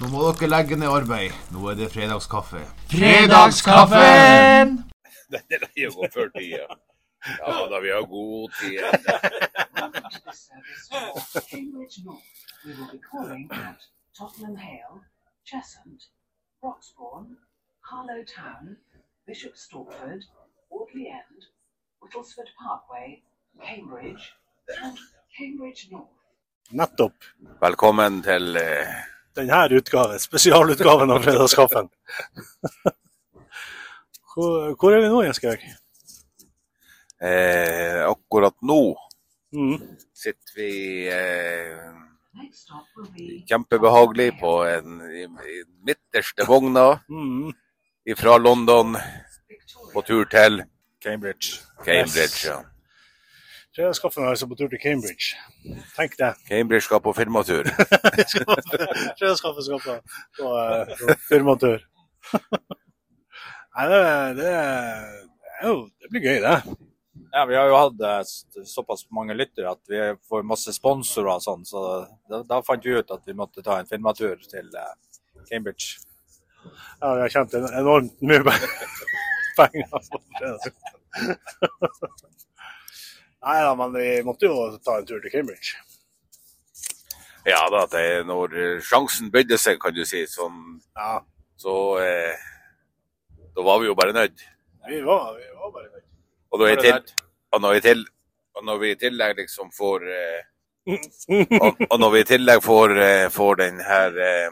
Nå må dere legge ned arbeid. Nå er det fredagskaffe. Fredagskaffen! Det det er jo godt før tida. Ja da, vi har god tid. igjen. In which north we will be calling at Tottenham Hale, Cheshunt, Roxbourne, Harlow Town, Bishop Stortford, Audley End, Whittlesford Parkway, Cambridge, and Cambridge North. Nettopp. Velkommen til eh, Denne utgaven, spesialutgaven av Fredagskaffen. hvor, hvor er vi nå, Jenskehaug? eh, Akkurat nå Mm. sitter vi eh, Next stop will be kjempebehagelig på en, i, i midterste vogna Mm. fra London Victoria. på tur til Cambridge. Cambridge. Ja. Fredagskaffen er altså på tur til Cambridge. Tenk det. Cambridge skal på firmatur. Fredagskaffen skal på, på, eh, på firmatur. Nei, det, det, det, er jo, det blir gøy, det. Ja, vi har jo hatt eh, s- såpass mange lyttere at vi får masse sponsorer og sånn, så da, da fant vi ut at vi måtte ta en firmatur til eh, Cambridge. Ja, vi har tjent en enormt mye pe- penger på fredag. Nei da, men vi måtte jo ta en tur til Cambridge. Ja da, det er når eh, sjansen bydde seg, kan du si, sånn, Ja, så eh, da var vi jo bare nødt. vi var, vi var bare der. Og når, jeg Var til, det og når, jeg til, og når vi i tillegg liksom får eh, og, og når vi i tillegg får, eh, får den her eh,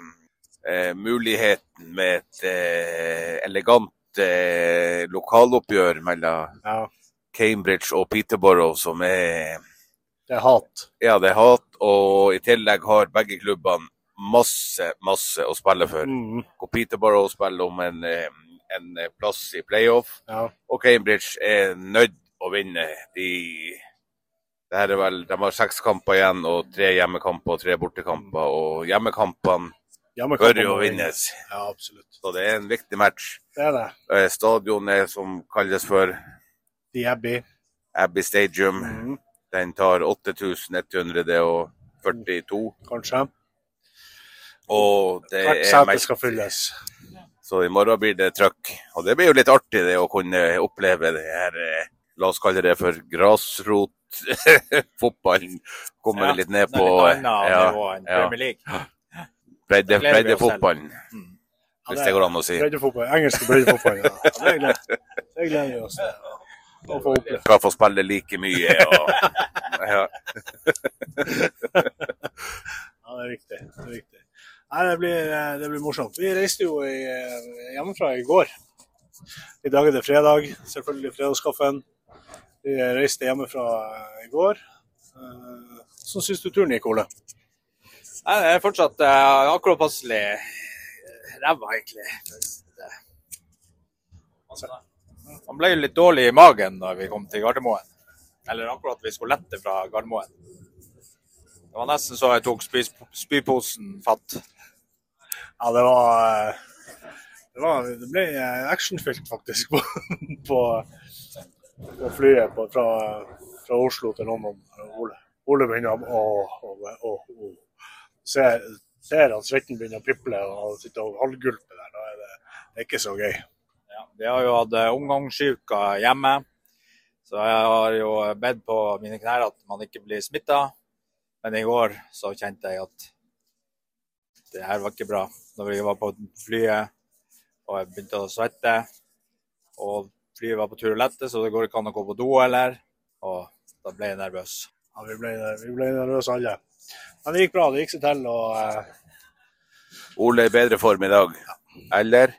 eh, muligheten med et eh, elegant eh, lokaloppgjør mellom Ja, Cambridge og Peterborough, som er det er hat. ja, det er hat, og i tillegg har begge klubbene masse, masse å spille for. Mm, Og Peterborough spiller om en, eh, en plass i playoff. ja. og Cambridge er nødt å vinne. De, det her er vel, de har seks kamper igjen, og tre hjemmekamper og tre bortekamper. Og hjemmekampene Jamaica bør jo kommer vinnes, inn. Ja, absolutt. så det er en viktig match. Det er det. Eh, Stadionet som kalles for De er bi. Abbey Stadium, Mm, den tar 8142. kanskje. Og det Hvert er sete match, skal fylles. så i morgen blir det trøkk. Og det blir jo litt artig det å kunne oppleve det her eh, La oss kalle det for grasrotfotballen. Kommer Ja, litt ned Det på eh, er litt annet ja. nivå enn ja. Premier League. Bredde, Da gleder vi oss breddefotballen, Ja, Mm. hvis det det er går an å si. breddefotball. Engelske breddefotball. Ja. Ja, Det gleder- det gleder vi oss til. Å få oppleve. Skal få spille like mye. Og, ja. Ja, det er viktig. Det er viktig. Nei, det blir, eh, det blir morsomt. Vi reiste jo i, eh, hjemmefra i går. I dag er det fredag, selvfølgelig fredagskaffen. Vi reiste hjemmefra i går. Eh, Så syns du turen gikk, Ole? Nei, det er fortsatt eh, akkurat passelig eh, ræva, egentlig. Han ble jo litt dårlig i magen da vi kom til Gardermoen. Eller akkurat vi skulle lette fra Gardermoen. Det var nesten så jeg tok spys- spyposen fatt. Ja, det var eh, Det, var, det ble eh, actionfylt, faktisk, på, på, på flyet på, fra, fra Oslo til London. Ole, Ole begynner å, å, å, å. Ser, ser at svetten begynner å piple, og han sitter og halvgulper der. Da er det, det er ikke så gøy. Ja, vi har jo hatt eh, omgangssjuka hjemme. Så jeg har jo bedt på mine knær at man ikke blir smitta. Men i går så kjente jeg at det her var ikke bra. Når vi var på flyet og jeg begynte å svette, og flyet var på tur og lette, så det går ikke an å gå på do heller. Og da ble jeg nervøs. Ja, vi, ble, vi ble nervøse alle. Men det gikk bra. Det gikk seg til. og... eh, Ole er i bedre form i dag. Eller?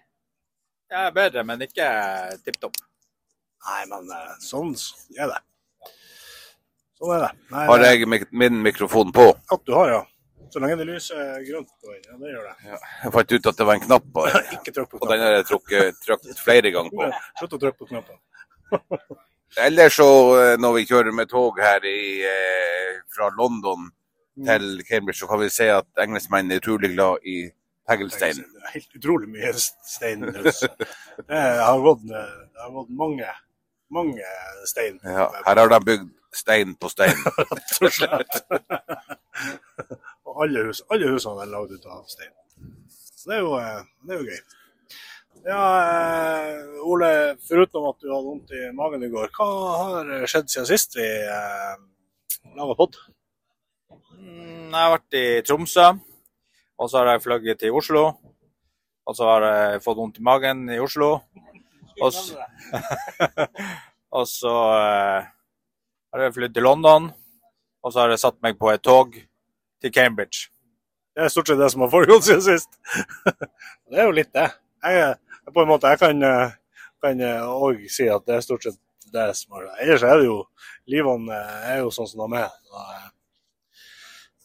Jeg er bedre, men ikke tipp topp. Nei, men eh, sånn er det. Sånn er det. Nei, Har det- jeg mik- min mikrofon på? At du har, ja. Så lenge det lyser grønt på den. Ja, det gjør det. Jeg fant ut at det var en knapp på den, Ikke trykk på og den knappen. har jeg trukket, trykt flere ganger på. Slutt å trykke på knappen. Eller så, eh, når vi kjører med tog her i, eh, fra London til Cambridge, så kan vi se at engelskmennene er utrolig glad i Peggelstein. Det er Helt utrolig mye stein. altså. Det har gått, det har gått mange, mange stein. Ja, her har de bygd stein på stein. Rett og slett. Og alle, hus, alle husene er lagd ut av stein. Så det er jo, eh, det er jo gøy. Ja, eh, Ole, foruten at du hadde vondt i magen i går, hva har skjedd siden sist vi eh, laga pod? Mm, Jeg har vært i Tromsø, og så har jeg fløyet til Oslo. Og så har jeg fått vondt i magen i Oslo. Og s- og så eh, har jeg flydd til London, og så har jeg satt meg på et tog til Cambridge. Det er stort sett det som har foregått siden sist. det er jo litt det. Jeg, er- på en måte, jeg kan, eh, kan òg si at det er stort sett det som har Ellers er det jo Livene eh, er jo sånn som de er. Og, eh,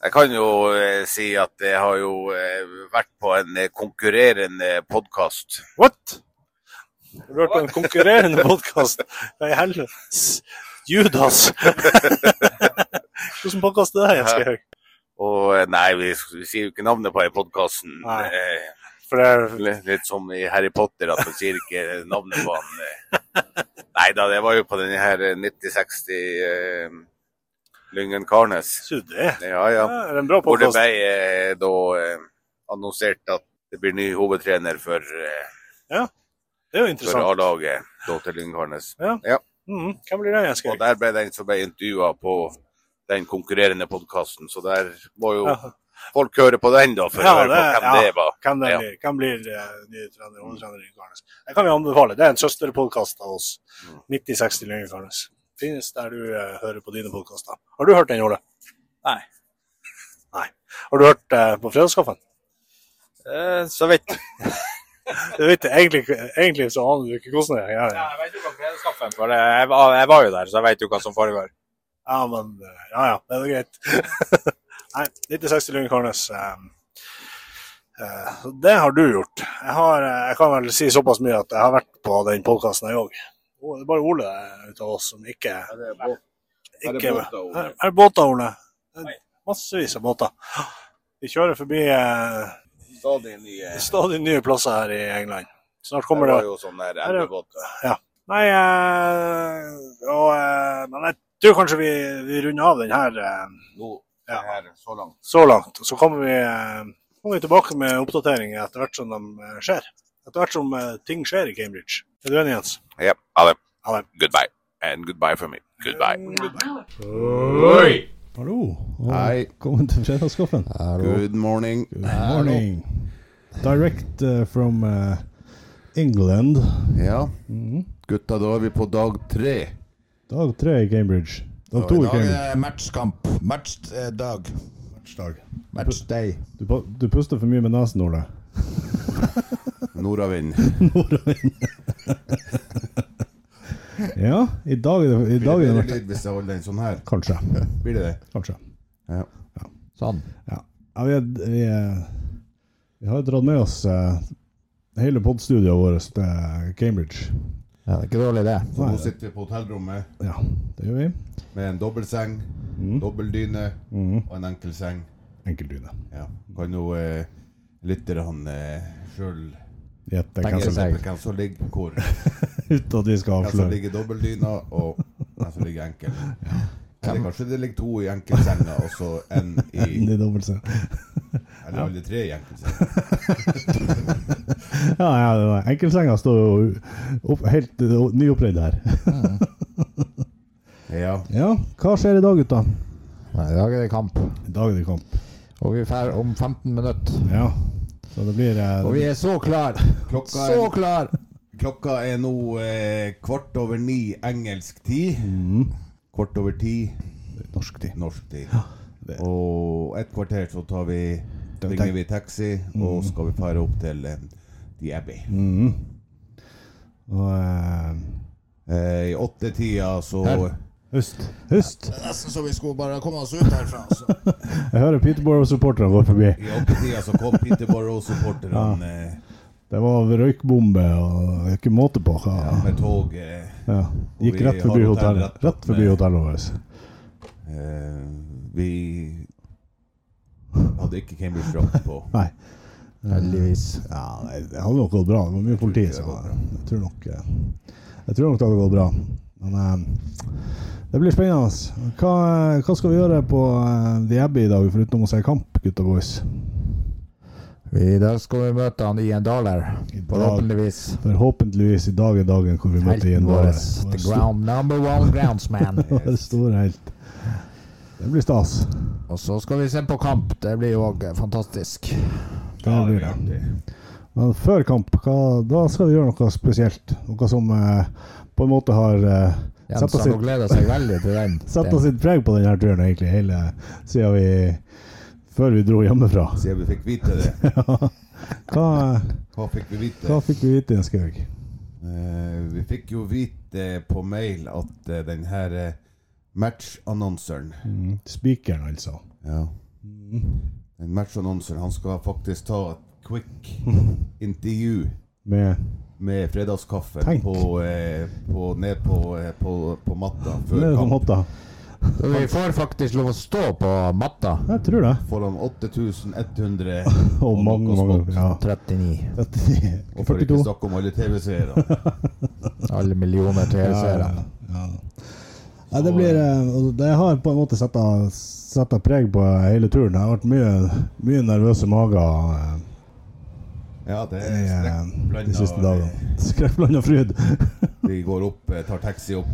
Jeg kan jo eh, si at jeg har jo eh, vært på en eh, konkurrerende podkast. What? Har du hørt på en konkurrerende podkast? Hva i helvete? Judas! Hvordan podkast er det, Jens Gehaug? Og eh, nei, vi, sk- vi sier jo ikke navnet på eh, den podkasten. Nei. For det er Litt som i Harry Potter, at man sier ikke navnet på han. eh. Nei da, det var jo på den her eh, 9060 eh, Lyngen Karnes. Så det Ja, ja. er en bra Hvor det podkast. ble eh, da eh, annonsert at det blir ny hovedtrener for, eh, Det er jo for interessant. A-laget da til Lyngkarnes. Mhm. Hvem blir det, Jens Og Gehaug? der ble den som ble intervjua på den konkurrerende podkasten, så der må jo Ja. folk høre på den, da, for Ja, å høre på det- hvem ja. det var. Hvem det Ja. blir, hvem blir eh, ny trener, hovedtrener i Garnes? Det kan vi anbefale. Det er en søsterpodkast av oss. 9060 Lyngdal Garnes. Finnes der du eh, hører på dine podkaster. Har du hørt den, Ole? Nei. Nei. Har du hørt eh, på Fredagskaffen? Eh, Så vidt. Du vet, egentlig, egentlig så aner du ikke hvordan det er. Ja, jeg vet jo hva fredagskaffen for det- Eh, jeg, var- jeg var jo der, så jeg vet jo hva som foregår. Ja, men eh, ja, ja. Det er greit. Nei, 9060 Lyngdal Garnes. eh, ehm, eh, det har du gjort. Jeg, har, eh, jeg kan vel si såpass mye at jeg har vært på den podkasten, jeg òg. Det er bare Ole eh, ut av oss som ikke Er det Ikke, båter, Ole? Er- er det båter, Ole? Det er Nei. Massevis av båter. Vi kjører forbi eh, Stadig nye. stadig nye plasser her i England. Snart Det kommer det var jo sånn der er det- elvebåter. Nei, eh, og, eh, men jeg tror kanskje vi, vi runder av den her eh, Nå, Ja. her, så langt. så langt. Og så kommer vi, eh, kommer vi tilbake med oppdateringer etter hvert som de eh, skjer. Etter hvert som eh, ting skjer i Cambridge. Er du enig, Jens? Ja, ha det. Ha det. Mm. Goodbye. And goodbye for me. Goodbye. Now Oi! Hallo, og Hei. velkommen til fredagskaffen. Good morning. Good morning. Direct uh, from uh, England. Ja, gutta, da er vi på dag tre. Dag tre i Cambridge. Dag Og to I i dag Cambridge. er Eh, matchkamp. Matchdag. Dag. Matchday. Du, pu- du puster for mye med nesen, Ole. Nordavind. Ja, i dag er det, i dag er det vært- lyd hvis jeg holder den sånn her? Kanskje. Blir det det? Kanskje. Ja. Sånn. Ja. ja vi, er, vi, er, vi har dratt med oss eh, hele podstudioet vårt til Cambridge. Ja, det er ikke dårlig det. Så nå sitter vi på hotellrommet Ja, det gjør vi. Mm. med en dobbeltseng, dobbeldyne og en enkel seng. Enkeltdyne. Ja. Kan jo eh, lytterne eh, sjøl Gjett Tenker hvem som- seg. hvem som ligger hvor. uten at vi Den skal som avsløre. ligger i dobbeltdyna, og den som ligger i enkel. Eller kanskje det ligger to i enkeltsenga, og så en i Det er dobbelt så- Eller alle tre i enkeltsenga. Ja, ja, det var- Enkeltsenga står jo opp, helt uh, nyoppredd her. Mm. Ja. Ja, hva skjer i dag, gutta? Nei, I dag er det kamp. I dag er det kamp. Og vi drar om 15 minutter. Ja, så det blir eh, Og vi er så klar! Klokka Så er, klar! klokka er nå eh, kvart over ni engelsk tid. Kvart over ti norsk tid. norsk tid. det- Og et kvarter så tar vi ringer vi taxi, og skal vi fare opp til eh, The Abbey. Og eh, Eh, I åttetida så Hust. Hust! Nesten så vi skulle bare komme oss ut herfra. altså. Jeg hører Peterborough-supporterne går forbi. I åttetida så kom Peterborough-supporterne eh, Det var røykbombe og ikke måte på. hva- ja, med tog. Eh, Ja. Gikk vi rett har forbi hotell hotellet rett Rett forbi med- hotellet vårt. Eh, vi hadde ikke Cambridge-drakt på. Nei. Heldigvis. Ja, nei, det hadde nok gått bra. Det var mye politi. det Så hadde gått bra. jeg tror nok eh, Jeg tror nok det hadde gått bra. Men eh, det blir spennende. ass. Hva, eh, hva skal vi gjøre på eh, The Abbey i dag, foruten å se kamp, gutta boys? Vi I dag skal vi møte han i en daler. I dag- Forhåpentligvis. Forhåpentligvis i dag er dagen hvor vi møter Helten igjen vår. våre. The ground number one groundsman. Vår store helt. Det blir stas. Og så skal vi se på kamp. Det blir jo òg fantastisk. Det blir det. Men før kamp, hva, da skal vi gjøre noe spesielt. Noe som eh, på en måte har eh, Jens satt, oss han sitt, gleder seg veldig til den. satt oss sitt preg på denne turen, egentlig, hele siden vi Før vi dro hjemmefra. Siden vi fikk vite det. Hva, Hva fikk vi vite? hva fikk vi vite, Skaug? Eh, vi fikk jo vite på mail at uh, den her eh, matchannonseren Mm, Spikeren, altså. Ja. Den matchannonseren han skal faktisk ta et quick intervju Med med fredagskaffe Tenk. på, eh, på, ned på, eh, på, på matta før Nede på kamp. matta. Så vi får faktisk lov å stå på matta. Jeg tror det. Foran 8100 Og mange, noe mange smått. ja. 39. Og for ikke 42. snakke om alle TV-seere. Alle millioner TV-seere. Nei, det blir eh, altså, Det har på en måte satt av- satt av preg på hele turen. Det har vært mye, mye nervøse mager eh, Ja, det i, er eh, skrekkblanda. de siste dagene. Skrekkblanda fryd. Vi går opp, eh, tar taxi opp.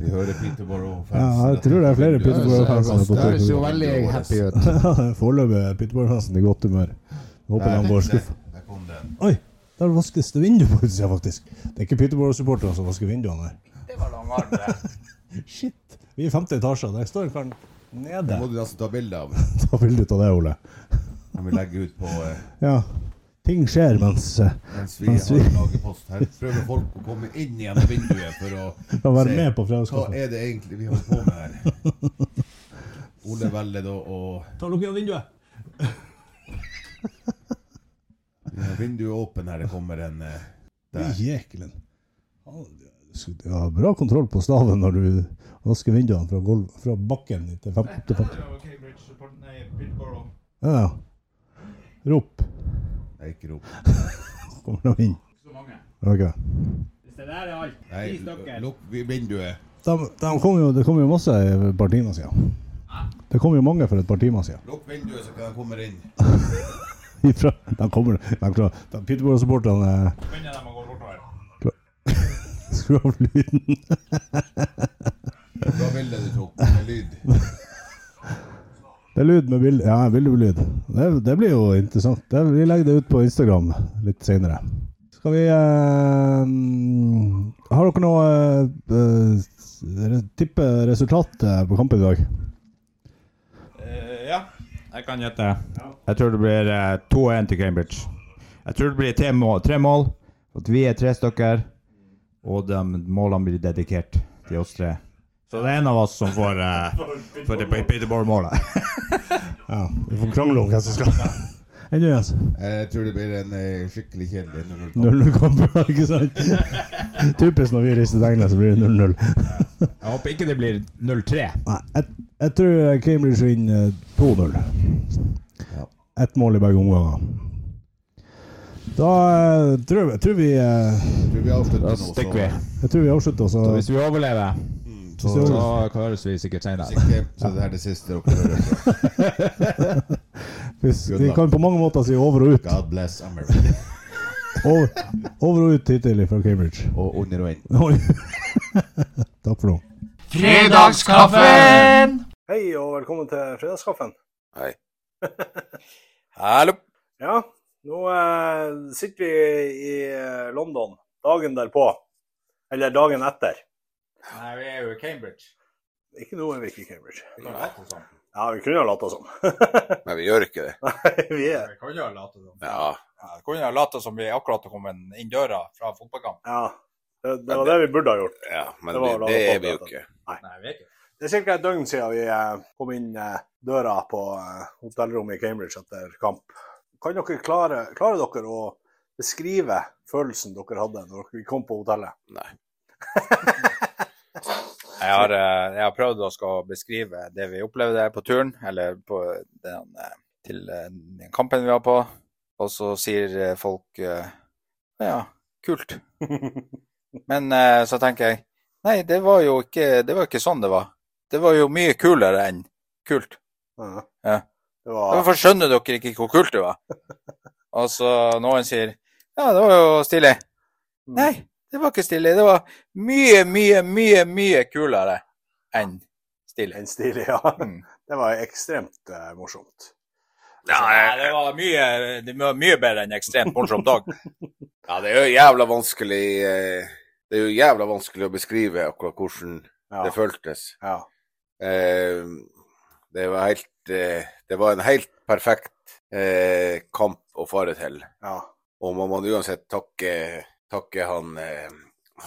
Vi hører Peterborough-fansen. Ja, jeg tror det er flere altså Det høres Peterborough-fans. det høres jo veldig happy ut. Foreløpig er Peterborough-fansen i godt humør. Jeg Håper de går skuffa. Der kom den. Oi! Der vaskes det vindu på utsida, faktisk. Det er ikke Peterborough-supporterne som vasker vinduene her. Det var lang arm, det. Shit! Vi er i femte etasje, og der står en kar nede. Det må du nesten ta bilde av. Ta bilde av det, Ole. Den vi legger ut på eh, Ja. Ting skjer mens eh, mens vi Mens vi- har lagerpost. Her prøver folk å komme inn gjennom vinduet for å å være se med på hva fredagskaffen. er det egentlig vi holder på med her. Ole velger da å Ta og lukk igjen vinduet! ja, Eh, Vinduet er åpent her, det kommer en eh, der. Jekelen. Ja, du skulle- Du har bra kontroll på staven når du vasker vinduene fra, gulv, fra bakken til fem, opp til fem. Ja, ja. Rop, Nei, ikke rop. kommer de inn. Ok. Nei, lukk vi- vinduet. De, de kom jo, det kom jo masse for et par timer siden. Det kom jo mange for et par timer siden. Lukk vinduet, så kan jeg komme inn. Ifra, de kommer, de klarer, de Peterborough-supporterne eh, Begynner de å gå bortover? skrur av lyden. Hva ville du tok med lyd? Det er lyd med bilde. Ja, bilde med lyd. Det, det blir jo interessant. Det, vi legger det ut på Instagram litt senere. Skal vi eh, Har dere noe eh, eh, re- tippe resultat eh, på kampen i dag? Eh, ja, jeg kan gjette. Jeg tror det blir eh, 2-1 til Cambridge. Jeg tror det blir tre mål. Tre mål at vi er tre stykker, og de målene blir dedikert til oss tre. Så det er en av oss som får, eh, får det Peterborough-målet. Ja, Vi får krangle om hvem som skal Enn du, Jens? Jeg tror det blir en eh, skikkelig kjedelig 0-0. 0-0-kamp, ikke sant? Typisk når vi rister tegnet, så blir det 0-0. Jeg håper ikke det blir 0-3. Nei, jeg, jeg tror Cambridge vinner eh, 2-0. Ett mål i begge omganger. Da eh, tror jeg, tror vi, eh, Tror vi Da avslutter nå, så stikker vi. jeg tror vi avslutter, så, Så hvis vi overlever, så, så, så høres vi sikkert senere. Sikker, så det her er det siste dere hører. fra. hvis, Vi kan på mange måter si over og ut. God bless America. Over, over og ut hittil fra Cambridge. Og under og inn. Oi. Takk for nå. Fredagskaffen! Hei og velkommen til fredagskaffen. Hei. Hallo. Ja, nå eh, sitter vi i eh, London dagen derpå. Eller dagen etter. Nei, vi er jo i Cambridge. Ikke nå er vi ikke i Cambridge. Nei, Ja, vi kunne ha latt oss som. men vi gjør ikke det. vi er Vi kan jo late som. Ja. Ja, det kunne jo late som vi akkurat har kommet inn døra fra fotballkamp. Ja. Det, det var det vi burde ha gjort. ja men Det det, var da det folk er vi jo vet ikke. Nei, vi er ikke Det er ca. et døgn siden vi eh, kom inn eh, døra på eh, hotellrommet i Cambridge etter kamp. Kan dere klare, klare dere å beskrive følelsen dere hadde når dere kom på hotellet? Nei. Jeg har, eh, jeg har prøvd å skal beskrive det vi opplevde på turen, eller på den, eh, til eh, den kampen vi var på. Og så sier eh, folk eh, ja, kult. Men eh, så tenker jeg Nei, det var jo ikke, det var ikke sånn det var. Det var jo mye kulere enn kult. Ja. Ja. Det var Hvorfor skjønner dere ikke hvor kult det var? Og så noen sier Ja, det var jo stilig. Nei, det var ikke stilig. Det var mye, mye, mye, mye kulere enn stilig. en stilig, ja. Mm. Det var ekstremt eh, morsomt. Nei, det var mye, det var mye bedre enn ekstremt morsomt dag. Ja, det er jo jævla vanskelig eh, Det er jo jævla vanskelig å beskrive akkurat hvordan Ja. det føltes. ja. Eh, det var helt eh, Det var en helt perfekt eh, kamp å fare til. ja. Og man må uansett takke, takke han eh,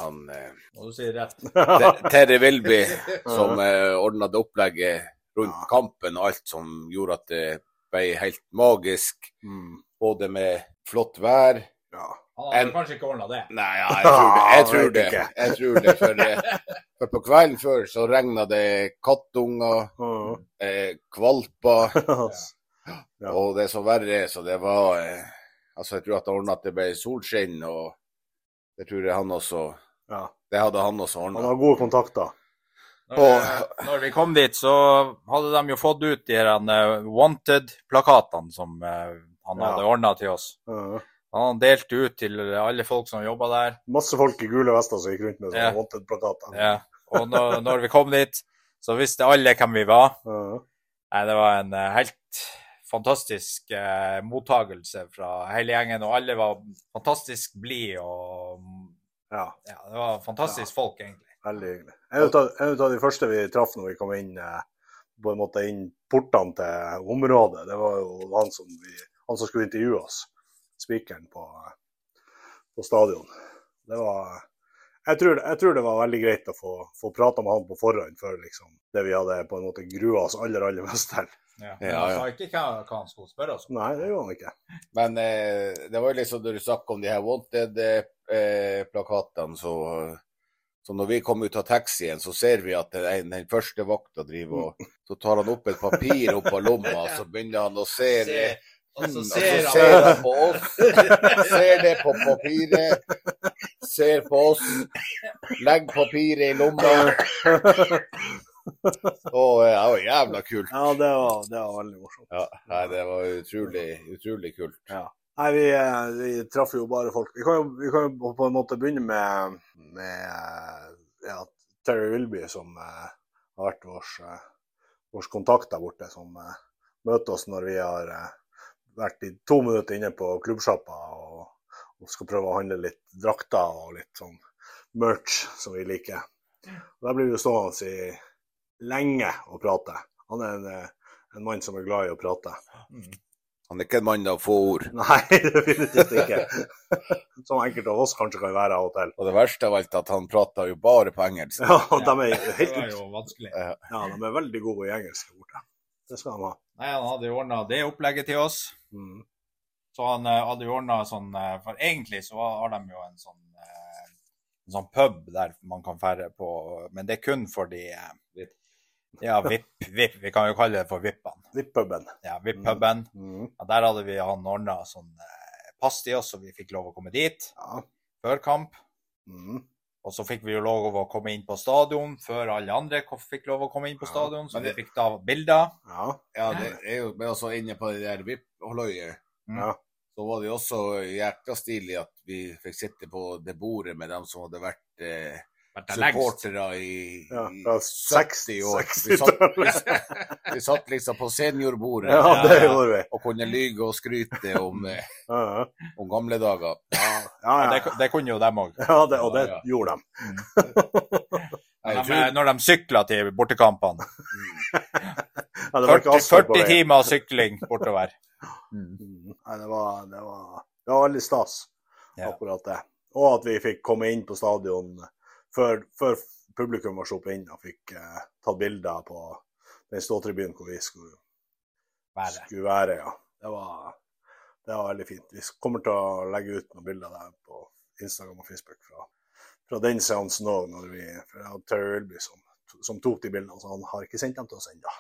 han eh, Og du sier rett. Ter- Terry Wilby Sånn. som eh, ordna det opplegget rundt Ja. kampen og alt som gjorde at det ble helt magisk. Mm. Både med flott vær ja. Han hadde kanskje ikke ordna det. Nei, ja, jeg tror det. Jeg tror det, Jeg vet ikke. jeg tror det for, eh, for på kvelden før så regna det kattunger, Mm. eh, kvalper, Ja. og det som verre er, så det var eh, Altså, jeg tror at det ordna at det ble solskinn, og det tror jeg han også ja. Det hadde han også Han ordna. har gode kontakter. Når, eh, når vi kom dit, så hadde de jo fått ut de her eh, Wanted-plakatene som eh, han Ja. hadde ordna til oss. Ja. Han delte ut til alle folk som jobba der. Masse folk i gule vester som gikk rundt med sånne Ja. wanted-plakater. Ja. Og når, når vi kom dit, så visste alle hvem vi var. Ja. Nei, det var en eh, helt fantastisk eh, mottagelse fra hele gjengen, og alle var fantastisk blide og ja. ja, Det var fantastisk folk, egentlig. Veldig hyggelig. En ut av, en ut av de første vi traff når vi kom inn eh, på en måte inn portene til området, det var jo han som, vi, han som skulle intervjue oss. Spikeren på, eh, på stadion. Det var jeg tror, jeg tror det var veldig greit å få, få prata med han på forhånd før liksom, det vi hadde på en måte grua oss aller, aller mest til. Ja. Men han ja. sa ikke hva, han skulle spørre oss Nei, det gjorde han ikke. Men eh, det var jo liksom når du snakket om de her Wanted-plakatene, eh, så, så når vi kom ut av taxien, så ser vi at den, den første vakta driver og Så tar han opp et papir opp av lomma, så begynner han å se det. Og Og hmm, så Mm. Altså, altså, ser han på oss, ser det på papiret, ser på oss, legger papiret i lomma. Og eh, det var jævla kult. Ja, det var, det var veldig morsomt. Ja, nei, det var utrolig, utrolig kult. Nei, vi, eh, vi traff jo bare folk. Vi kan jo, vi kan jo på en måte begynne med, med eh, ja, Terry Wilby, som eh, har vært vår, vår kontakt der borte, som eh, møter oss når vi har eh, vært i to minutter inne på klubbsjappa og, og skal prøve å handle litt drakter og litt sånn merch som vi liker. Og der blir vi jo stående i lenge og prate. Han er en, eh, en mann som er glad i å prate. Han er ikke en mann av få ord. Nei, definitivt ikke. Som enkelte av oss kanskje kan være av og til. Og det verste av alt at han prata jo bare på engelsk. Ja, og de er, Det helt, var ut- jo vanskelig. ja, de er veldig gode i engelsk der borte. Det skal de ha. Nei, han hadde jo ordna det opplegget til oss. Mm. Så han eh, hadde jo ordna sånn eh, For egentlig så har de jo en sånn, eh, en sånn pub der man kan ferde på, men det er kun for de eh, Ja, VIP, VIP. Vi kan jo kalle det for VIP-ene. Vippuben. Ja, VIP-puben. Mm. Ja, der hadde vi han ordna sånn eh, pass til oss, så vi fikk lov å komme dit Ja. før kamp. Mm. Og så fikk vi jo lov å komme inn på stadion før alle andre ko- fikk lov å komme inn på Ja, stadion, så men vi det- fikk da bilder. ja. Ja, det er jo, men altså inne på det der VIP-holøyet, Mm. Ja. så var det jo også jækla stilig at vi fikk sitte på det bordet med dem som hadde vært eh, Vært der lengst. supportere i, Ja, i fra 60 år. Vi 60 satt, år. vi satt liksom på seniorbordet Ja, det Ja, ja. gjorde vi. og kunne lyge og skryte om, eh, Ja, ja. om gamle dager. Ja, Ja, det, ja. det kunne jo dem òg. ja det, og det Ja, ja. gjorde de. Jeg Når, tror- de- når de sykla til bortekampene. Ja, det var ikke 40, asfalt på 40 veien. timer sykling bortover. Mm. Nei, det var, det var, det var veldig stas, Ja. akkurat det. Og at vi fikk komme inn på stadion før, før publikum var sluppet inn og fikk eh, tatt bilder på den ståtribunen hvor vi skulle, Været. skulle være. Ja. Det, var, det var veldig fint. Vi kommer til å legge ut noen bilder der på Instagram og Facebook fra, fra den seansen òg, når vi fra Terry Wilby som, som tok de bildene. Så han har ikke sendt dem til oss ennå.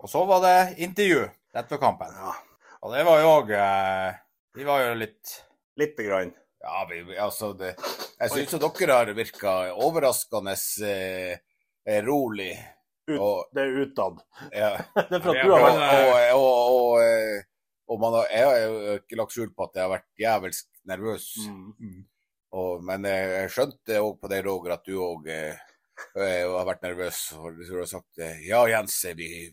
Og så var det intervju rett før kampen. Ja, Og det var jo òg eh, De var jo litt lite grann. Ja, vi, vi- altså det, Jeg syns jo dere har virka overraskende eh, eh, rolig. og, det er utad. Ja. Det er for at Ja, du har og, og, og, og, eh, og man har, jeg har jo ikke lagt skjul på at jeg har vært jævelsk nervøs. Mm. Og, men jeg, jeg skjønte òg på deg, Roger, at du òg eh, eh, har vært nervøs. For du har sagt eh, ja, Jens, vi,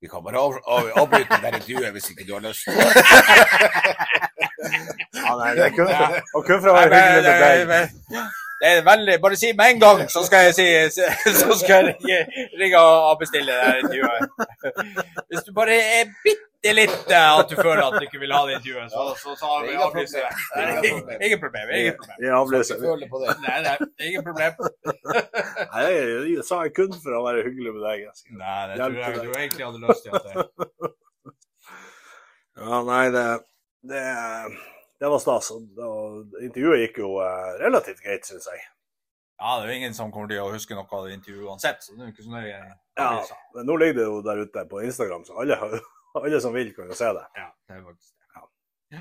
vi kan bare av, av, avbryte det her intervjuet hvis ikke du har lyst. Ja, nei, det er kun, Ja. og kun for å være Nei, men- hyggelig med deg. nei, men- Det er veldig, Bare si med en gang, så skal jeg, si, så skal jeg ringe, ringe og bestille det her intervjuet. Hvis du bare er bitte litt eh, at du føler at du ikke vil ha det intervjuet, så, så, så Det er ingen avlyser jeg. problem. Nei, Ingen ingen problem. Ingen problem. Jeg avlyser. Jeg føler på det. Nei, nei, ingen problem. Nei, jeg- jeg sa jeg kun for å være hyggelig med deg. Jessica. Nei, det tror jeg du egentlig hadde lyst til. at jeg... Ja, nei, det, det, det var stas. og- og Intervjuet gikk jo eh, relativt greit, syns jeg. Ja, det er jo ingen som kommer til å huske noe av det intervjuet uansett, så det er jo ikke så nøye. Ja, men nå ligger det jo der ute på Instagram, så alle, har- alle som vil, kan jo se det. Ja, det er faktisk det.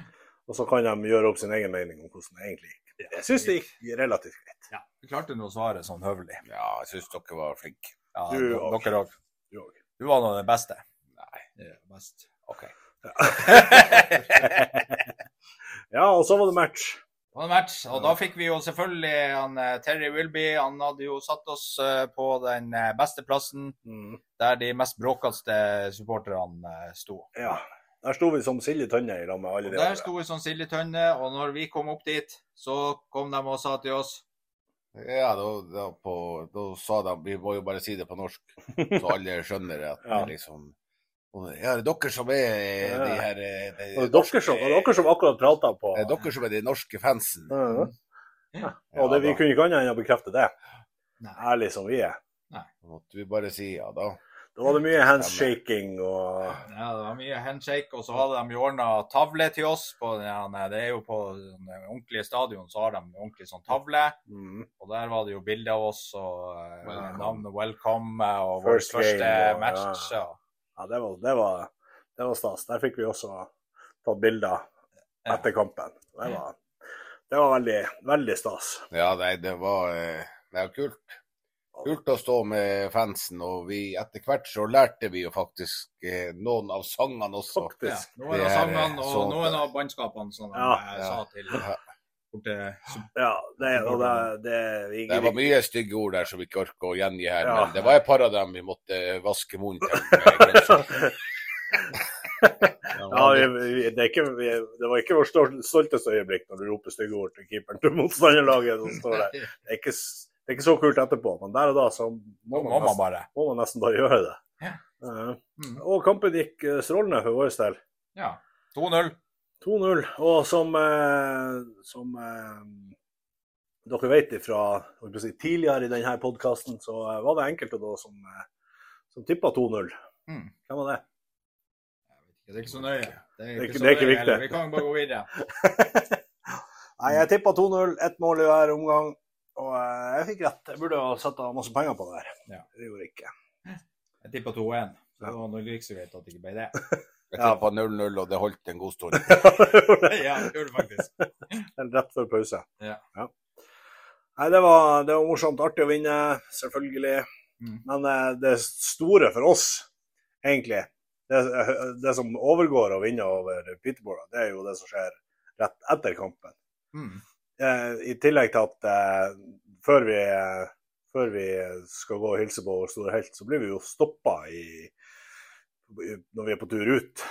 Og så kan de gjøre opp sin egen mening om hvordan det egentlig gikk. Jeg syns det gikk relativt greit. Ja, du klarte nå å svare sånn høvelig. Ja, jeg syns dere var flinke. Ja, Du d- og- dere òg. Du òg. Du var nå den beste. Nei, det er best. OK. Ja, og så var det match. Det var en match, og da fikk vi jo selvfølgelig han, eh, Terry Wilby. Han hadde jo satt oss eh, på den eh, beste plassen Mm. der de mest bråkete supporterne eh, sto. Ja. Der sto vi som sild i tønne i lag med alle Og de der andre. sto vi som sild i tønne, og når vi kom opp dit, så kom de og sa til oss Ja, da, da, på, da sa de Vi må jo bare si det på norsk, så alle skjønner det. At Ja. det liksom Ja, det er dere som er eh, de her eh, de, Og det er dere som, og det er dere som akkurat prata på Det er dere som er de norske fansen. Mhm. Ja. Og det, Ja, vi da. kunne ikke annet enn å bekrefte det, Nei. ærlig som vi er. Måtte vi bare si ja da. Da var det mye handshaking og Ja, det var mye handshake, og så hadde de jo ordna tavle til oss. På, den her- det er jo på den ordentlige stadion så har de ordentlig sånn tavle, mm. og der var det jo bilde av oss og eh, Welcome. navnet 'Welcome' eh, og vår First første game, og- match. ja. og- Ja, det var, det, var, det var stas. Der fikk vi også tatt bilder Ja. etter kampen. Det var, det var veldig, veldig stas. Ja, nei, det var eh, Det var kult. Kult å stå med fansen, og vi etter hvert så lærte vi jo faktisk eh, noen av sangene også. Ja. Faktisk. Noen Det av er, sangene og så- noen av bannskapene som de Ja. eh, sa til Ja. borte Ja, det, og det, det, vi, Det var mye stygge ord der som vi ikke orker å gjengi her, Ja. men det var et par av dem vi måtte eh, vaske munnen til. eh, med grønnsaker. ja, vi, vi, det, er ikke, vi, det var ikke vårt stol- stolteste øyeblikk når du roper stygge ord til keeperen til motstanderlaget. som står der. Det, er ikke, s- det er ikke så kult etterpå, men der og da så må Nå man må man nesten, bare. må man nesten bare gjøre det. Ja. Eh, Mm. og kampen gikk eh, strålende for vår del. Ja. 2-0. 2-0. Og som, eh, som eh, dere vet fra si, tidligere i denne podkasten, så eh, var det enkelte da som, eh, som tippa 2-0. Mm. Hvem var det? Det er ikke så nøye. Det er ikke- så det er ikke nøye viktig. heller. Vi kan bare gå videre. Nei, jeg tippa 2-0. Ett mål i hver omgang. Og eh, jeg fikk rett. Jeg burde ha satt av masse penger på det her. Ja. Det gjorde jeg ikke. Jeg tippa 2-1. så Det var nok ikke så greit at det ikke ble det. Jeg tippa 0-0, og det holdt en god stund. Ja, det gjorde det faktisk. Eller rett før pause. Ja. Nei, det var, det var morsomt. Artig å vinne, selvfølgelig. Mm. Men eh, det store for oss, egentlig, det, det som overgår å vinne over Peterborough, det er jo det som skjer rett etter kampen. Mm. Eh, I tillegg til at eh, før, vi, eh, før vi skal gå og hilse på vår store helt, så blir vi jo stoppa i, i, når vi er på tur ut,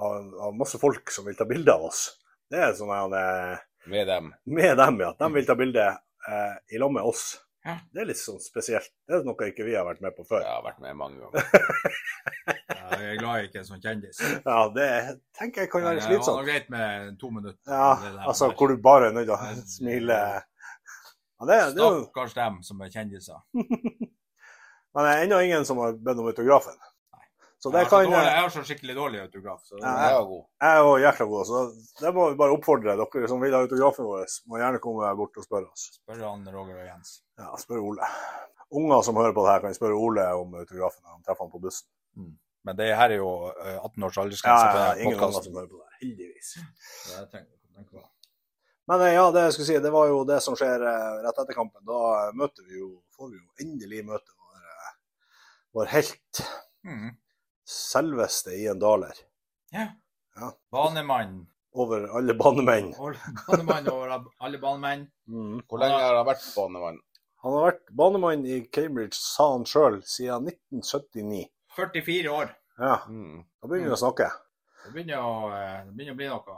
av, av masse folk som vil ta bilde av oss. Det er sånn her eh, Med dem. med dem, ja. De vil ta bilde eh, i lag med oss. Ja. Det er litt sånn spesielt. Det er noe ikke vi har vært med på Jeg før. Ja, har vært med mange ganger. Ja, Jeg er glad jeg ikke er sånn kjendis. det tenker jeg kan Men eh, være Det var slitsomt. noe greit med to minutter. Ja, Det der. altså hvor du bare er nødt til å smile. Ja, det, det er jo, Stakkars dem som er kjendiser. men det er ennå ingen som har bedt om autografen. Så jeg, det har så kan dårlig, jeg jeg har så skikkelig dårlig autograf. Så Ja. Jeg var god. er jo jækla god, så det må vi bare oppfordre dere som vil ha autografen vår, må gjerne komme bort og spørre oss. spør han Roger og Jens. Ja, spør Ole. Unger som hører på det her, kan spørre Ole om autografen når de treffer han på bussen. Men det her er jo eh, 18 års Ja, aldersgrense ja, på ingen unger som podkasten. hører på det her, heldigvis. Men eh, ja, det jeg skulle si, det var jo det som skjer eh, rett etter kampen. Da eh, møter vi jo, får vi jo endelig møte vår, eh, vår helt. Mhm. Selveste Ian Daler. Banemann. Over alle banemenn. Banemann over alle banemenn. Mm. Hvor lenge har han vært banemann? Han har vært banemann i Cambridge, sa han sjøl, siden 1979. 44 år. Ja, Mm. da begynner vi å snakke. Det begynner å, eh, det begynner å bli noe.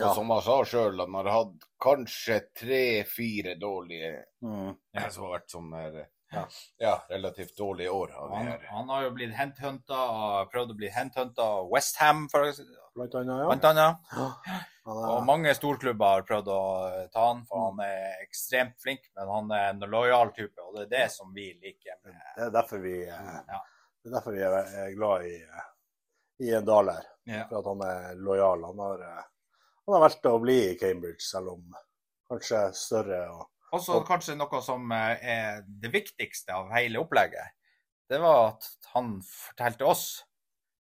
Og som han sa sjøl, han har hatt kanskje tre-fire dårlige Mm. eh, som har vært sånn der eh, ja, relativt dårlige år. Av de Han, her. han har jo blitt henthunta og prøvd å bli henthunta av Westham, blant annet. Ja. Blant annet. Han er- Og mange storklubber har prøvd å ta han, for han er ekstremt flink, men han er en lojal type, og det er det som vi liker. med- Det er derfor vi, eh, Mm, Ja. det er, derfor vi er, er glad i, eh, i en Daler. Ja. For at han er lojal. Han har, eh, han har valgt å bli i Cambridge, selv om kanskje større og Også kanskje noe som eh, er det viktigste av hele opplegget, det var at han fortalte oss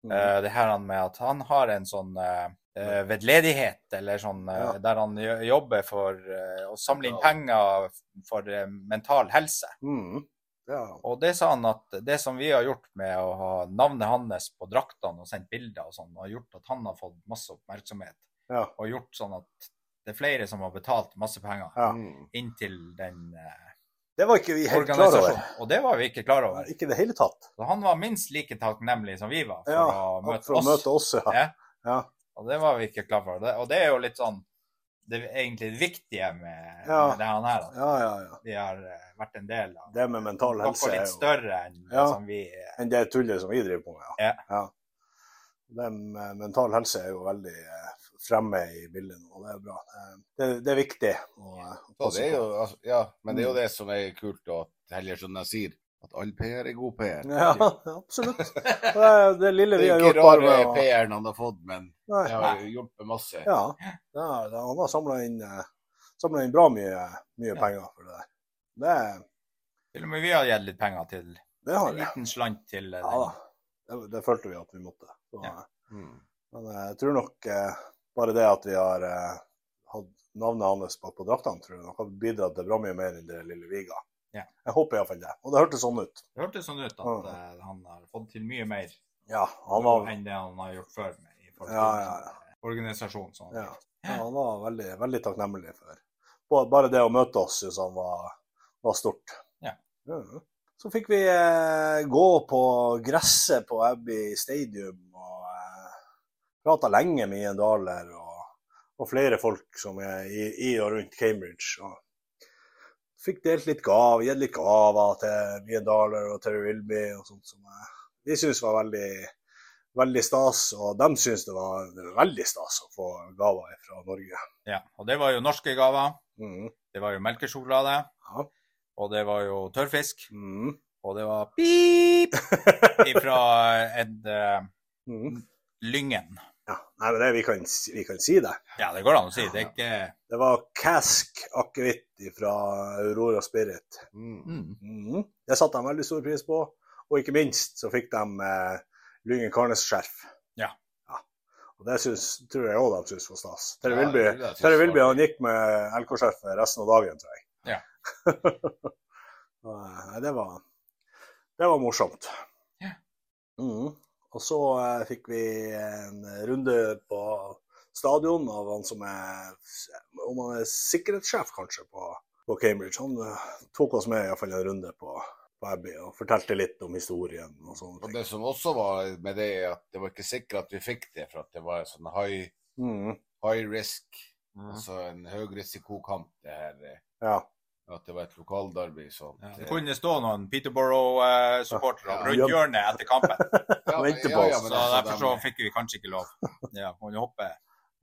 Mm. eh, det her han med at han har en sånn eh, eh, vedledighet, eller sånn eh, Ja. der han jo- jobber for eh, å samle inn penger for eh, mental helse. mm. ja. Og det sa han at det som vi har gjort med å ha navnet hans på draktene og sendt bilder og sånn, har gjort at han har fått masse oppmerksomhet. Ja. Og gjort sånn at det er flere som har betalt masse penger Ja. inn til den eh, Det var ikke vi helt klar over. organisasjonen. Og det var vi ikke klar over. Ikke i det hele tatt. Så han var minst like takknemlig som vi var for Ja, å møte For å oss. møte oss, ja. Ja. Ja. Og det var vi ikke klar for. Det- Og det er jo litt sånn det er egentlig det viktige med, Ja. med det han her, at Ja, ja, ja. vi har eh, vært en del av Det med mental helse noe er litt jo større enn det Ja. som vi eh, enn det tullet som vi driver på med. Ja. Det med eh, mental helse er jo veldig eh, fremme i bildet nå, og det er bra. Eh, Det, det er viktig å, eh, å Så det passe er jo, på. altså, ja, men Mm. det er jo det som er kult, og at Helge Sundnes sier at all PR er god PR. Ja, absolutt. Det, er det Det lille er vi jo har ikke gjort bare rare med å PR-en han har fått, men Nei, det har jo hjulpet masse. Ja, det er, det, han har samla inn, eh, samlet inn bra mye, mye penger for det der. Det, Til og med vi har gitt litt penger til det en har jeg. liten slant til eh, Ja da. Det, det følte vi at vi måtte. Så, eh, Ja. Mm. Men eh, jeg tror nok eh, bare det at vi har eh, hatt navnet hans bak på draktene, tror jeg nok har bidratt til bra mye mer enn det lille Viga. Ja. Jeg håper iallfall det. Og det hørtes sånn ut. Det hørtes sånn ut at eh, han har fått til mye mer Ja, han var, enn det han har gjort før med i forhold til Ja, ja, ja. organisasjonen. Sånn. ja, ja, han var veldig, veldig takknemlig for ba- Bare det å møte oss syns han var, var stort. Ja. Mhm. Så fikk vi eh, gå på gresset på Abbey Stadium og eh, prata lenge med Ian Dahler og, og flere folk som er i, i og rundt Cambridge. Og fikk delt litt gav, gitt litt gaver til Ian Dahler og Terry Wilby og sånt som eh, de syntes var veldig, veldig stas. Og de syntes det var veldig stas å få gaver fra Norge. Ja, og det var jo norske gaver. Mhm. Det var jo melkesjokolade. Ja. Og det var jo tørrfisk. Mhm. Og det var pip ifra Ed eh, Mhm. Lyngen. Ja, nei, men det, vi, kan, si- vi kan si det. Ja, det går an å si. Det er ikke Det var Cask akevitt fra Aurora Spirit. mm. Mhm. Det satte de veldig stor pris på. Og ikke minst så fikk de eh, Lyngen Karnes-skjerf. Ja. Og det syns, tror jeg òg de syns var stas. Terje Ja, det Wilby tror jeg synes Terje var- Wilby, han gikk med LK-skjerfet resten av dagen, tror jeg. eh, Ja. Nei, det var Det var morsomt. Ja. Mhm. Og så eh, fikk vi en runde på stadion av han som er Om han er sikkerhetssjef, kanskje, på, på Cambridge. Han eh, tok oss med i hvert fall en runde på, på Abbey og fortalte litt om historien og sånne Og ting. det som også var med det, er at det var ikke sikkert at vi fikk det, for at det var en sånn high, Mhm. high risk, Mm. altså en høy risikokamp, det her. eh, Ja. At det var et lokalderby. Så ja, at, Det eh, kunne stå noen Peterborough-supportere Ja, ja. rundt hjørnet etter kampen. ja, men- vente på ja, ja, oss. men Så altså, derfor de- så fikk vi kanskje ikke lov. Ja, kunne hoppe.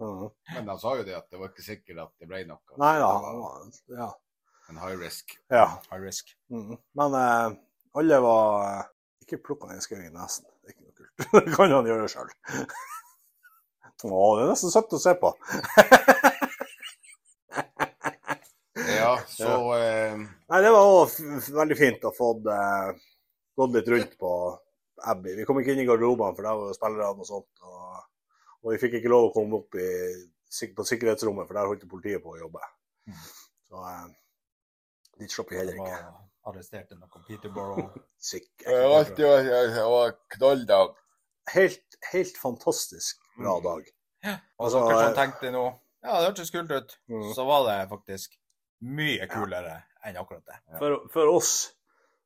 Mhm. Men de sa jo det at det var ikke sikkert at det ble noe. Nei da. Det var han var- Ja. En high risk. ja. High risk. Mhm. Men eh, alle var eh, Ikke plukk han en skau i nesen. Det er ikke noe kult. Det kan han gjøre sjøl. Å, det er nesten søtt å se på. Ja, så eh, Nei, det var òg veldig fint å få eh, gått litt rundt på Abbey. Vi kom ikke inn i garderobene, for der var jo spillerne og sånt. Og, og vi fikk ikke lov å komme opp i sik- på sikkerhetsrommet, for der holdt jo politiet på å jobbe. Mm. Så eh, dit slapp vi heller ikke. Arresterte noen Peterborough. Sikkert. Det var alltid det var knalldag. Helt, helt fantastisk Mm. bra dag. Altså, Og så kanskje han tenkte nå Ja, det hørtes kult ut. Mm. Så var det faktisk mye kulere enn akkurat det. for, for oss.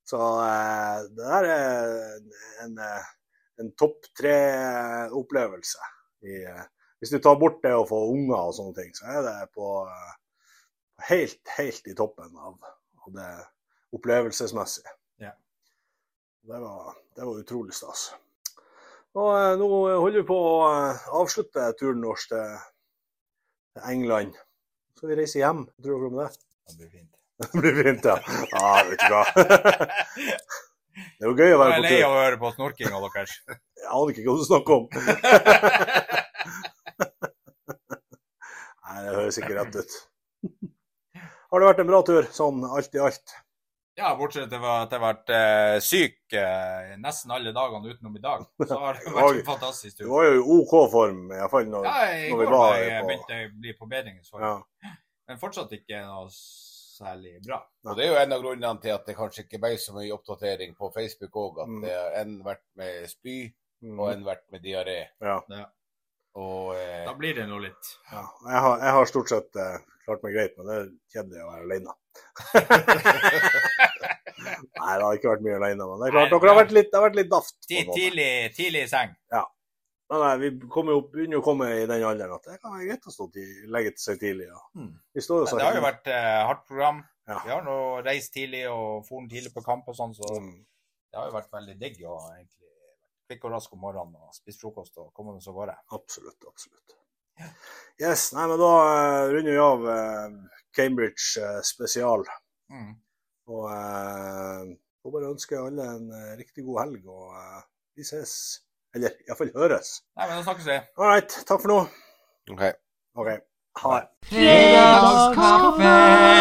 Så eh, det der er en, eh, en topp tre-opplevelse. eh, Hvis du tar bort det å få unger og sånne ting, så er det på eh, helt, helt i toppen av, av det opplevelsesmessige. Ja. Det var, det var utrolig stas. Og eh, nå holder vi på å eh, avslutte turen vår til til England. Så skal vi reise hjem. Hva tror du om det? Det blir fint, ja. Ja, vet du hva. Det er jo gøy å Jeg være på er lei av tur. å høre på snorkinga deres. Jeg aner ikke hva du snakker om. Nei, det høres ikke rett ut. Har det vært en bra tur, sånn alt i alt? Ja, bortsett fra at jeg har vært eh, syk eh, nesten alle dagene utenom i dag. Så har det vært en fantastisk Du tur. var jo i OK form, iallfall når, Ja, I når vi går var var jeg på begynte jeg å bli på bedringsform, ja. men fortsatt ikke noe særlig bra. Og Det er jo en av grunnene til at det kanskje ikke ble så mye oppdatering på Facebook òg. At det har en vært med spy, og Mm, en vært med diaré. Ja. Og eh, Da blir det nå litt. Ja, jeg, har, jeg har stort sett eh, klart meg greit, men det er kjedelig å være alene. Nei, det har ikke vært mye alene, men det er klart Nei, dere har ja. vært litt, det har vært litt daft. på en Ti- måte. Tidlig, tidlig i seng. Nei, nei, vi kommer jo opp, begynner jo å komme i den alderen at det kan være greit å stå til, legge til seg tidlig. Ja. Mm. Vi står jo Men så det har jo vært eh, hardt program. Ja. Vi har nå reist tidlig og foren tidlig på kamp og sånn, så Mm. det har jo vært veldig digg å egentlig være kvikk og rask om morgenen og spise frokost og komme oss av gårde. Absolutt, absolutt. Yes, nei, men da eh, runder vi av eh, Cambridge eh, spesial. Mm. Og eh, får bare ønske alle en eh, riktig god helg, og eh, vi ses. Eller iallfall høres. Nei, men da snakkes vi. All right, takk for nå. OK. OK. Ha det. Fredagskaffe!